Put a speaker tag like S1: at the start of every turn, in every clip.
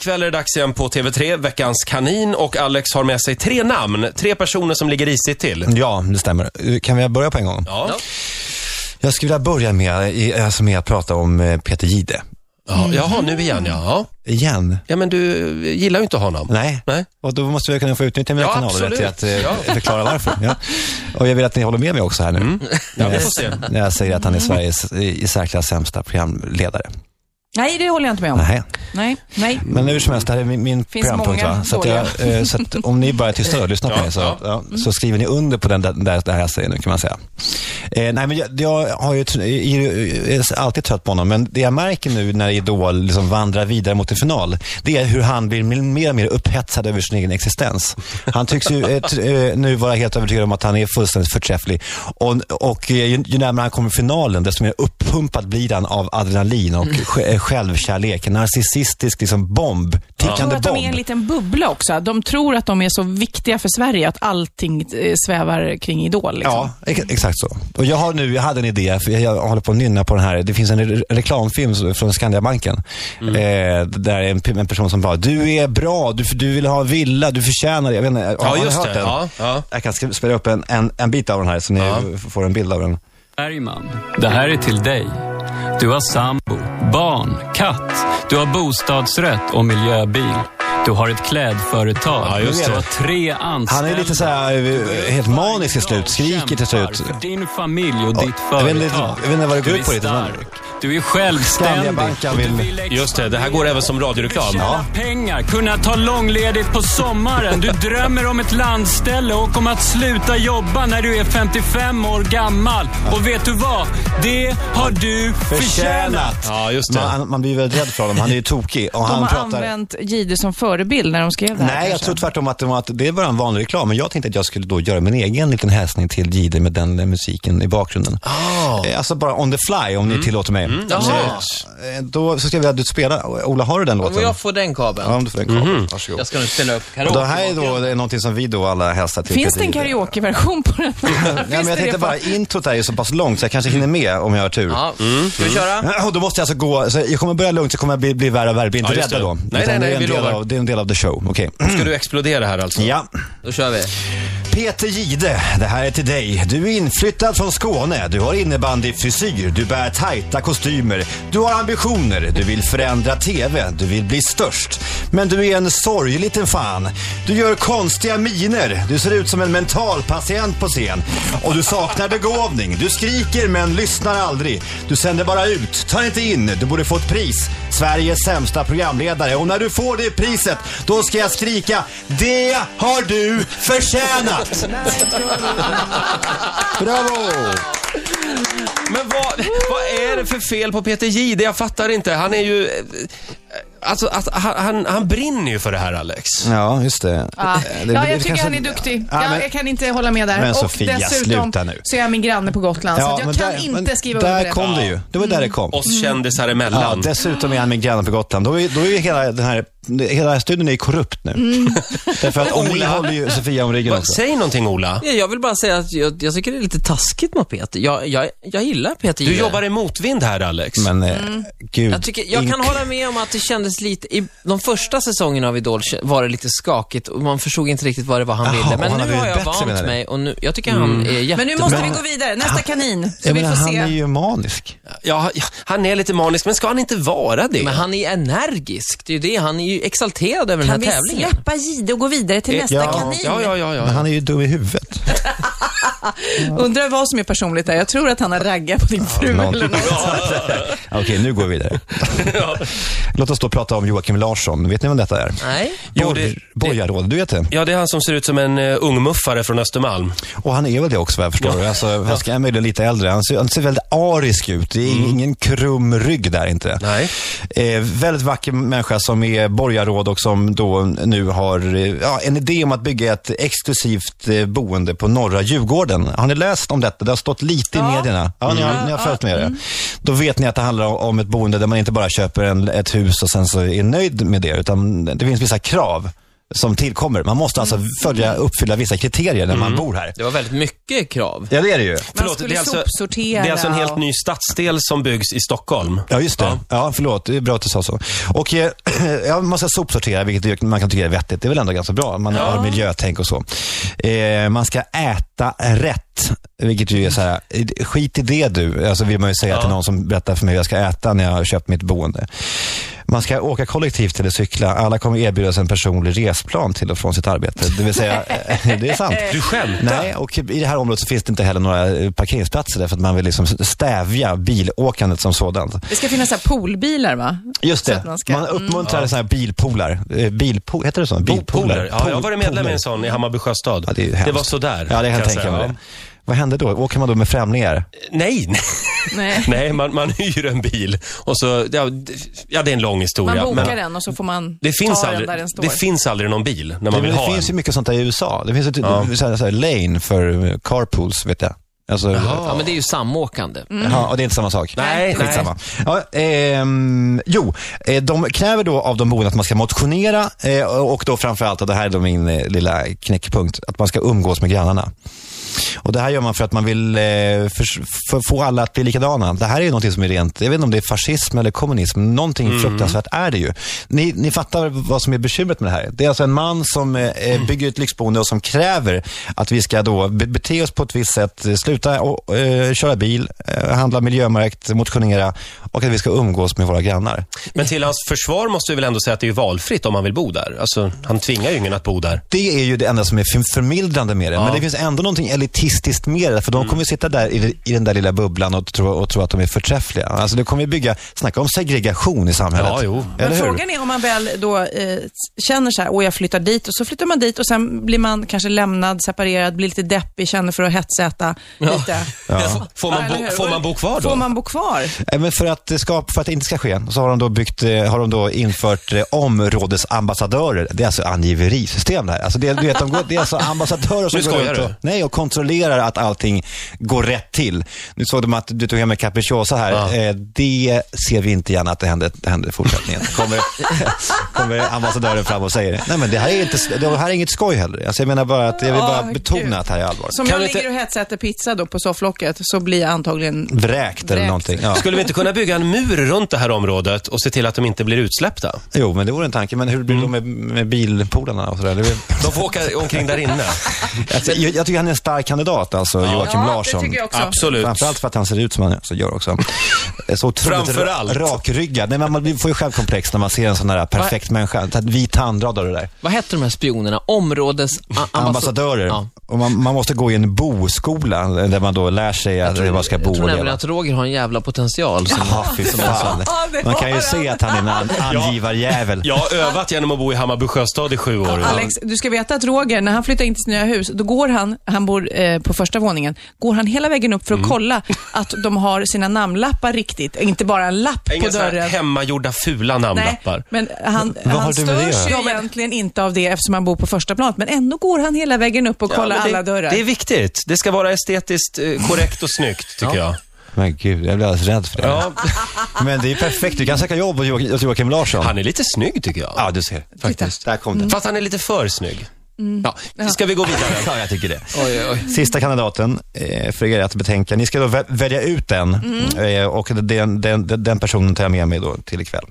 S1: ikväll är det dags igen på TV3, Veckans kanin. Och Alex har med sig tre namn, tre personer som ligger risigt till.
S2: Ja, det stämmer. Kan vi börja på en gång?
S1: Ja.
S2: Jag skulle vilja börja med, i- alltså med att prata om eh, Peter Gide.
S1: ja. Jaha, nu igen ja. ja.
S2: Igen.
S1: Ja, men du gillar ju inte honom.
S2: Nej.
S1: Nej.
S2: Och då måste jag kunna få utnyttja mina
S1: Ja,
S2: kanaler
S1: absolut.
S2: till att eh,
S1: Ja. Mm.
S2: förklara varför. Ja. Och jag vill att ni håller med mig också här nu.
S1: Ja,
S2: när,
S1: vi
S2: jag,
S1: får se. Mm.
S2: när jag säger att han är Sveriges i, i särklass sämsta programledare.
S3: Nej, det håller jag inte med om.
S2: Nej.
S3: Nej, nej.
S2: Men hur som helst, det här är min, min
S3: Finns
S2: programpunkt.
S3: många
S2: Va? Så, att jag, eh, så att om ni bara är tysta och lyssnar på
S1: Ja,
S2: mig så,
S1: ja.
S2: ja. så skriver ni under på den där, där, där jag säger nu kan man säga. Eh, nej, men jag, jag har ju, tr- är, är alltid trött på honom, men det jag märker nu när Idol liksom vandrar vidare mot en final, det är hur han blir mer och mer upphetsad över sin egen existens. Han tycks ju eh, tr- eh, nu vara helt övertygad om att han är fullständigt förträfflig. Och, och eh, ju, ju närmare han kommer finalen, desto mer uppumpad blir han av adrenalin och sj- eh, självkärlek. En narcissistisk liksom, bomb,
S3: Jag
S2: tickande
S3: tror att de är i en
S2: bomb.
S3: liten bubbla också. De tror att de är så viktiga för Sverige att allting eh, svävar kring Idol. Liksom.
S2: Ja, ex- exakt så. Och jag har nu, jag hade en idé, för jag, jag håller på att nynna på den här. Det finns en re reklamfilm s- från Skandiabanken.
S1: Mm.
S2: Eh, där en, p- en person som bara, du är bra, du, f- du vill ha en villa, du förtjänar det. Jag vet inte, har ni
S1: just
S2: hört
S1: det.
S2: den?
S1: Ja, ja.
S2: Jag kan sk- spela upp en, en, en bit av den här så ni
S1: Ja.
S2: f- får en bild av den.
S4: Bergman, det här är till dig. Du har sambo, barn, katt, du har bostadsrätt och miljöbil. Du har ett klädföretag.
S1: Ja, just
S4: du
S1: det.
S4: har tre anställda.
S2: Han är lite så här eh, helt manisk i slut, skriker till
S4: Kämpar
S2: slut.
S4: för din familj och
S2: Ja,
S4: ditt
S2: jag vet
S4: företag.
S2: inte- jag vet inte vad det går
S4: Du är
S2: ut på riktigt, men-
S4: stark. Du är självständig.
S2: Skandiabanken vill-
S1: Just det, det här går även som radioreklam.
S2: Ja.
S4: Tjäna pengar, kunna ta långledigt på sommaren. Du drömmer om ett landställe och om att sluta jobba när du är 55 år gammal. Och vet du vad? Det har du förtjänat.
S1: Ja, just det.
S2: Man, man blir väl rädd för honom, han är ju tokig. Och
S3: De
S2: han
S3: har
S2: pratar...
S3: använt Jihde som förebild när de skrev det här.
S2: Nej, jag
S3: kanske.
S2: tror tvärtom att det, var att det var en vanlig reklam. Men jag tänkte att jag skulle då göra min egen liten hälsning till Jihde med den eh, musiken i bakgrunden. Eh, Alltså bara on the fly, om ni tillåter mig.
S5: Jaha.
S2: Så, eh, då så ska vi att du spelar. Ola, har du den
S5: Om
S2: låten?
S5: jag får den kabeln.
S2: Ja, om du får den kabeln. Varsågod.
S5: Jag ska nu ställa upp
S2: Och
S5: karaoke.
S2: det här är då eh, någonting som vi då alla hälsar till.
S3: Finns det en
S2: Jihde.
S3: karaokeversion på den? Finns
S2: Nej, men
S3: det
S2: jag tänkte
S3: det?
S2: bara, introt här är så pass långt så jag kanske hinner med om jag har tur.
S5: Ja. Ska vi köra?
S2: Och då måste jag alltså gå, så jag kommer börja lugnt så kommer jag bli, bli värre och värre. Bli inte
S1: Ja, just
S2: rädda
S1: det.
S2: då.
S1: Nej,
S2: Utan
S1: nej, nej,
S2: det, är en
S1: vi
S2: del
S1: lovar.
S2: av, det är en del av the show. Okej.
S1: Ska du explodera här alltså?
S2: Ja.
S5: Då kör vi.
S2: Peter Gide, det här är till dig. Du är inflyttad från Skåne. Du har innebandyfrisyr. Du bär tajta kostymer. Du har ambitioner. Du vill förändra TV. Du vill bli störst. Men du är en sorglig liten fan. Du gör konstiga miner. Du ser ut som en mentalpatient på scen. Och du saknar begåvning. Du skriker men lyssnar aldrig. Du sänder bara ut. Tar inte in. Du borde få ett pris. Sveriges sämsta programledare. Och när du får det priset, då ska jag skrika Det har du förtjänat! Bravo!
S1: Men vad, vad är det för fel på Peter Jihde? Jag fattar inte. Han är ju... eh, Alltså, att, han, han, han brinner ju för det här, Alex.
S2: Ja, just det.
S3: Ja,
S2: Det- det-
S3: Ah. ja,
S2: det
S3: jag tycker
S2: kanske-
S3: han är duktig.
S2: Ja,
S3: jag,
S2: men-
S3: jag kan inte hålla med där.
S2: Men Sofia,
S3: och dessutom
S2: sluta nu.
S3: så är jag min granne på Gotland,
S2: Ja,
S3: så
S2: men
S3: att alltså, jag kan
S2: där-
S3: inte
S2: men
S3: skriva under
S2: Där
S3: det. Mm.
S2: kom det ju. Det var där det kom.
S1: Oss kändisar
S2: Ja,
S1: emellan.
S2: dessutom är han min granne på Gotland. Då är, då är ju hela den här, hela studion är ju korrupt nu. Därför att Olle håller ju Sofia om ryggen
S1: Va,
S2: också.
S1: säg någonting, Ola.
S5: Ja, Jag vill bara säga att jag, jag tycker det är lite taskigt mot Peter. Jag, jag, jag gillar Peter
S1: Du
S5: Gide.
S1: jobbar i motvind här, Alex.
S2: Men eh, gud.
S5: jag, tycker, jag kan
S2: Ink-
S5: hålla med om att det kändes lite, i de första säsongerna av Idol kä- var det lite skakigt och man förstod inte riktigt vad det var han
S2: Jaha,
S5: ville.
S2: och han
S5: Men
S2: har
S5: nu har
S2: blivit
S5: jag
S2: bättre, menar
S5: vant
S2: du? Mm.
S5: mig och nu, jag tycker han är jättebra.
S3: Men nu måste vi gå vidare. Nästa kanin, så
S2: Jag
S3: vi
S2: menar,
S3: får
S2: han
S3: se.
S2: är ju manisk.
S1: Ja, ja, han är lite manisk, men ska han inte vara det?
S5: Men han är energisk, det är ju det. Han är ju exalterad över
S3: Kan
S5: den
S3: vi
S5: här tävlingen.
S3: släppa Jihde och gå vidare till nästa
S2: ja.
S3: kanin?
S1: Ja, ja, ja.
S2: Men
S1: ja.
S2: han är ju dum i huvudet.
S3: Undrar vad som är personligt där. Jag tror att han har raggat på din fru
S2: någon-
S3: eller något.
S2: Okej, nu går vi vidare. Låt oss då prata om Joakim Larsson. Vet ni vem detta är?
S5: Nej.
S1: Jo,
S2: Borg-
S1: det-
S2: Borgarråd, du vet det.
S1: Ja, det är han som ser ut som en uh, ungmuffare från Östermalm.
S2: Och han är väl det också vad jag förstår. Alltså, han ska, är möjligen lite äldre. Han ser, han ser väldigt arisk ut. Det är ingen krum rygg där inte.
S1: Nej.
S2: Eh, väldigt vacker människa som är borgarråd och som då nu har eh, ja, en idé om att bygga ett exklusivt eh, boende på norra Djurgården. Har ni läst om detta? Det har stått lite i medierna. Ja, ni har, ni har följt med det. Då vet ni att det handlar om- om ett boende där man inte bara köper en, ett hus och sen så är nöjd med det, utan det finns vissa krav. som tillkommer. Man måste alltså följa, uppfylla vissa kriterier när man bor här.
S5: Det var väldigt mycket krav.
S2: Ja, det är det ju.
S3: Man
S1: Förlåt,
S3: skulle
S1: det är alltså-
S3: sopsortera.
S1: Det är alltså en helt
S3: och-
S1: ny stadsdel som byggs i Stockholm.
S2: Ja, just det. Ja. förlåt. Det är bra att du sa så. Och eh, ja, man ska sopsortera, vilket man kan tycka är vettigt. Det är väl ändå ganska bra. Man har miljötänk och så. Eh, man ska äta rätt, vilket ju är så här, eh, skit i det du. Alltså vill man ju säga till någon som berättar för mig hur jag ska äta när jag har köpt mitt boende. Man ska åka kollektivt eller cykla. Alla kommer erbjudas en personlig resplan till och från sitt arbete. Det vill säga, det är sant.
S1: Du skämtar?
S2: Nej, och i det här området så finns det inte heller några eh, parkeringsplatser därför att man vill liksom stävja bilåkandet som sådant.
S3: Det ska finnas så här poolbilar, va?
S2: Just
S3: Så
S2: det,
S3: att
S2: man,
S3: man ska-
S2: uppmuntrar så här bilpoolar. Eh, Bilpo, heter det så?
S1: mm. Pooler. Ja, jag har varit medlem i
S2: Pooler.
S1: en sån i Hammarby sjöstad.
S2: Ja, det, är ju hemskt.
S1: var sådär.
S2: Ja, det kan jag tänka
S1: säga.
S2: mig.
S1: Ja.
S2: det. Vad hände då? Åker man då med främlingar?
S1: Nej, nej.
S3: Nej.
S1: nej man, man hyr en bil och så, ja, d- Oh, ja det är en lång
S3: Man
S1: historia.
S3: bokar
S1: men
S3: den och så får man
S1: det finns,
S3: ta
S1: aldrig,
S3: den där den står.
S1: det finns aldrig någon bil när
S2: Det,
S1: man vill
S2: det
S1: ha
S2: finns
S1: en.
S2: ju mycket sånt där i USA. Det finns ett så här, så här lane för eh, carpools, vet jag. Alltså,
S5: Ja, men det är ju samåkande.
S2: Ja, och det är inte samma sak.
S1: Mm. Nej,
S2: Skitsamma. Ja, ehm, jo, eh, de kräver då av de boende att man ska motionera eh, och då framförallt, och det här är då min eh, lilla knäckpunkt, att man ska umgås med grannarna. Och det här gör man för att man vill eh, förs- f- få alla att bli likadana. Det här är ju någonting som är rent, jag vet inte om det är fascism eller kommunism, någonting fruktansvärt är det ju. Ni, ni fattar vad som är bekymret med det här. Det är alltså en man som eh, eh, bygger ett lyxboende och som kräver att vi ska då be- bete oss på ett visst sätt, eh, sluta och, eh, köra bil, eh, handla miljömärkt, motionera och att vi ska umgås med våra grannar.
S1: Men till hans försvar måste vi väl ändå säga att det är valfritt om man vill bo där. Alltså, han tvingar ju ingen att bo där.
S2: Det är ju det enda som är för- förmildrande med det. Men det finns ändå någonting elitistiskt med det. För
S1: Mm.
S2: de kommer ju sitta där i, i den där lilla bubblan och tro, och tro att de är förträffliga. Alltså det kommer ju bygga, snacka om segregation i samhället.
S1: Ja, jo.
S2: Eller
S3: Men
S2: hur?
S3: frågan är om man väl då eh, känner så här, åh jag flyttar dit och så flyttar man dit och sen blir man kanske lämnad, separerad, blir lite deppig, känner för att hetsäta lite.
S1: Får, man
S3: Ja, eller
S1: bo,
S3: hur?
S1: får man bo kvar då?
S3: Får man bo kvar?
S2: Eh, Men för att, det ska, för att det inte ska ske så har de då, byggt, eh, har de då infört eh, områdesambassadörer. Det är alltså angiverisystem det här. Alltså det, du vet, de går, det är alltså ambassadörer som
S1: Nu
S2: går
S1: skojar
S2: runt och,
S1: du.
S2: nej, och kontrollerar att allting går rätt till. Nu såg de att du tog hem en capricciosa här.
S1: Ja.
S2: Eh, Det ser vi inte gärna att det händer, det händer i fortsättningen. Kommer, kommer ambassadören fram och säger nej men det här är, inte, det här är inget skoj heller. Alltså jag menar bara att jag vill bara
S3: Åh,
S2: betona
S3: Gud.
S2: att det här är allvar.
S3: Så om
S1: Kan
S3: jag
S1: vi
S3: ligger
S1: inte-
S3: och hetsäter pizza då på sofflocket så blir jag antagligen...
S2: Vräkt eller
S3: Vräkt.
S2: någonting. Ja.
S1: Skulle vi inte kunna bygga en mur runt det här området och se till att de inte blir utsläppta?
S2: Jo, men det vore en tanke. Men hur blir det då med, med bilpolarna och sådär? Det är väl-
S1: De får åka omkring där inne.
S2: Alltså, jag, jag tycker han är en stark kandidat, alltså Joakim
S3: Ja, det
S2: Larsson.
S3: tycker jag också.
S1: Absolut.
S2: Framförallt för att han ser ut som han alltså, gör också. Så otroligt
S1: Framförallt.
S2: ra- rakryggad. Nej, men man blir- får ju självkomplex när man ser en sån här perfekt människa. Så här Vit tandrad och det där.
S5: Vad hette de här spionerna? Områdes... a- ambassad-
S2: Ambassadörer.
S5: Ja.
S2: Och man, man måste gå i en boskola eh, där man då lär sig att man ska bo
S5: Jag tror
S2: och
S5: nämligen
S2: leva.
S5: att Roger har en jävla potential. Som...
S2: Ja, fy fan.
S3: Ja, det
S2: Man kan ju
S3: har
S2: se
S3: han.
S2: att han är en an- angivarjävel.
S1: Jag har övat genom att bo i Hammarby sjöstad i sju år.
S3: Alex, du ska veta att Roger, när han flyttar in till sitt nya hus, då går han, han bor eh, på första våningen, går han hela vägen upp för
S2: Mm.
S3: att kolla att de har sina namnlappar riktigt, inte bara en lapp på
S1: Inga såna här
S3: dörren.
S1: hemmagjorda fula
S3: Nej,
S1: namnlappar.
S3: men han,
S2: har
S3: han
S2: du med det att
S3: störs ju
S2: göra?
S3: egentligen inte av det eftersom han bor på första planet, men ändå går han hela vägen upp och
S1: Ja,
S3: kollar
S1: men det,
S3: alla dörrar.
S1: Det är viktigt. Det ska vara estetiskt eh, korrekt och snyggt, tycker jag.
S2: Men gud, jag blir alldeles rädd för det.
S1: Ja,
S2: Men det är ju perfekt. Du kan söka jobb hos Joakim, hos Joakim Larsson.
S1: han är lite snygg, tycker jag.
S2: Ja, du ser. Faktiskt. Mm. Där kom det.
S1: Fast han är lite för snygg.
S3: Mm.
S1: Ja. Ska vi gå vidare?
S2: Ja, jag tycker det.
S5: Oj, oj, oj.
S2: Sista kandidaten eh, för er att betänka. Ni ska då vä- välja ut en
S5: Mm.
S2: eh, och den, den, den- den personen tar jag med mig då till ikväll.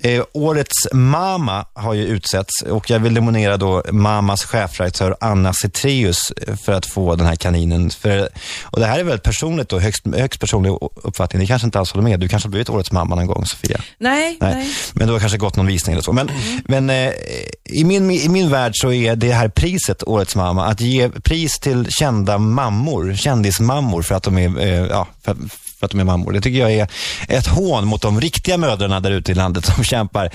S2: Eh, årets Mama har ju utsetts och jag vill nominera då Mamas chefredaktör Anna Cetreus för att få den här kaninen. För, och det här är väldigt personligt då, högst, högst personlig o- uppfattning. Ni kanske inte alls håller med. Du kanske har blivit Årets Mamma någon gång, Sofia?
S3: Nej, nej.
S2: Nej. Men du har kanske gått någon visning eller så. Men, men eh, i, min, i min värld så är det här priset, Årets mamma, att ge pris till kända mammor, kändismammor för att de är, eh, ja, för, för att de är mammor. Det tycker jag är ett hån mot de riktiga mödrarna där ute i landet som kämpar.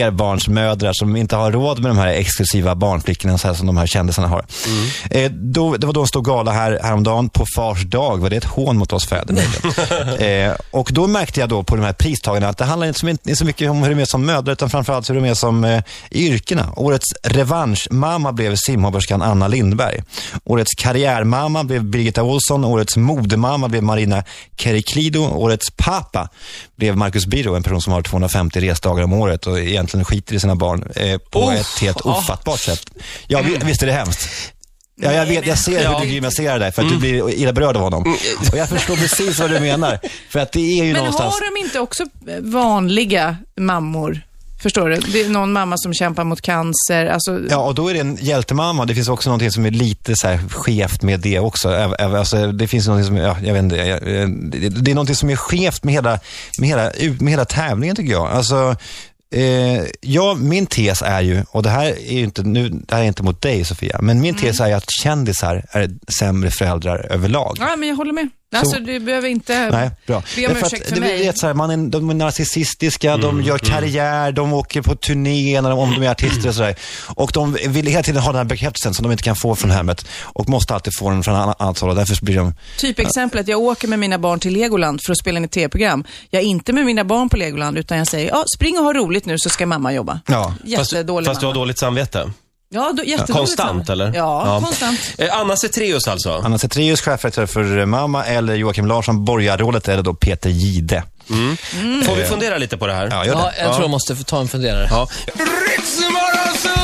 S2: Flerbarnsmödrar som inte har råd med de här exklusiva barnflickorna så här som de här kändisarna har. Eh, då, det var då en stor gala här, häromdagen. På fars dag var det ett hån mot oss fäder. möjligen. eh, och då märkte jag då på de här pristagarna att det handlar inte så, inte så mycket om hur de är som mödrar utan framförallt hur de är som eh, i yrkena. Årets revanschmamma blev simhopperskan Anna Lindberg. Årets karriärmamma blev Birgitta Olsson. Årets modemamma blev Marina Ker- Clido, årets papa, blev Marcus Biro, en person som har 250 resdagar om året och egentligen skiter i sina barn eh, på
S1: Oh,
S2: ett helt
S1: ah.
S2: ofattbart sätt. Ja, vi- visst är det hemskt? Ja, jag vet, jag ser hur
S1: Ja.
S2: du grimaserar där, för att du
S3: Mm.
S2: blir illa berörd av honom. Och jag förstår precis vad du menar, för att det är ju
S3: Men
S2: någonstans...
S3: har de inte också eh, vanliga mammor? Förstår du? Det är någon mamma som kämpar mot cancer. Alltså,
S2: Ja, och då är det en hjältemamma. Det finns också någonting som är lite så här skevt med det också. Ä- ä- Alltså, det finns någonting som, ja, jag vet inte, jag- eh, det- det är någonting som är skevt med hela, med hela, ut- med hela tävlingen tycker jag. Alltså, eh, ja, min tes är ju, och det här är ju inte, nu, det här är inte mot dig Sofia, men
S3: Mm.
S2: min tes är ju att kändisar är sämre föräldrar överlag.
S3: ja, men jag håller med. Alltså, du behöver inte
S2: Nej, bra.
S3: be om
S2: Det är
S3: ursäkt för,
S2: det,
S3: mig.
S2: Vet, så här, man är, de är narcissistiska, de gör karriär, de åker på turné när de, om de är artister och sådär. Och de vill hela tiden ha den här bekräftelsen som de inte kan få från hemmet och måste alltid få den från annat annat håll och därför så blir de...
S3: Typexemplet, jag åker med mina barn till Legoland för att spela in ett tv-program. Jag är inte med mina barn på Legoland utan jag säger, ja, spring och ha roligt nu så ska mamma jobba.
S2: Ja.
S1: Fast,
S3: Jättedålig
S1: fast du har
S3: mamma.
S1: dåligt samvete?
S3: Ja, då, jättedålig
S1: Konstant,
S3: mamma.
S1: eller?
S3: Ja, konstant.
S1: Eh, Anna Zetreus alltså?
S2: Anna Zetréus, chefredaktör för eh, Mamma eller Joakim Larsson, borgarrådet eller då Peter Gide.
S1: Får vi fundera lite på det här?
S2: Ja, gör det.
S5: Ja, jag tror jag måste få ta en funderare.
S1: Ja. Ritzmorgonzoo!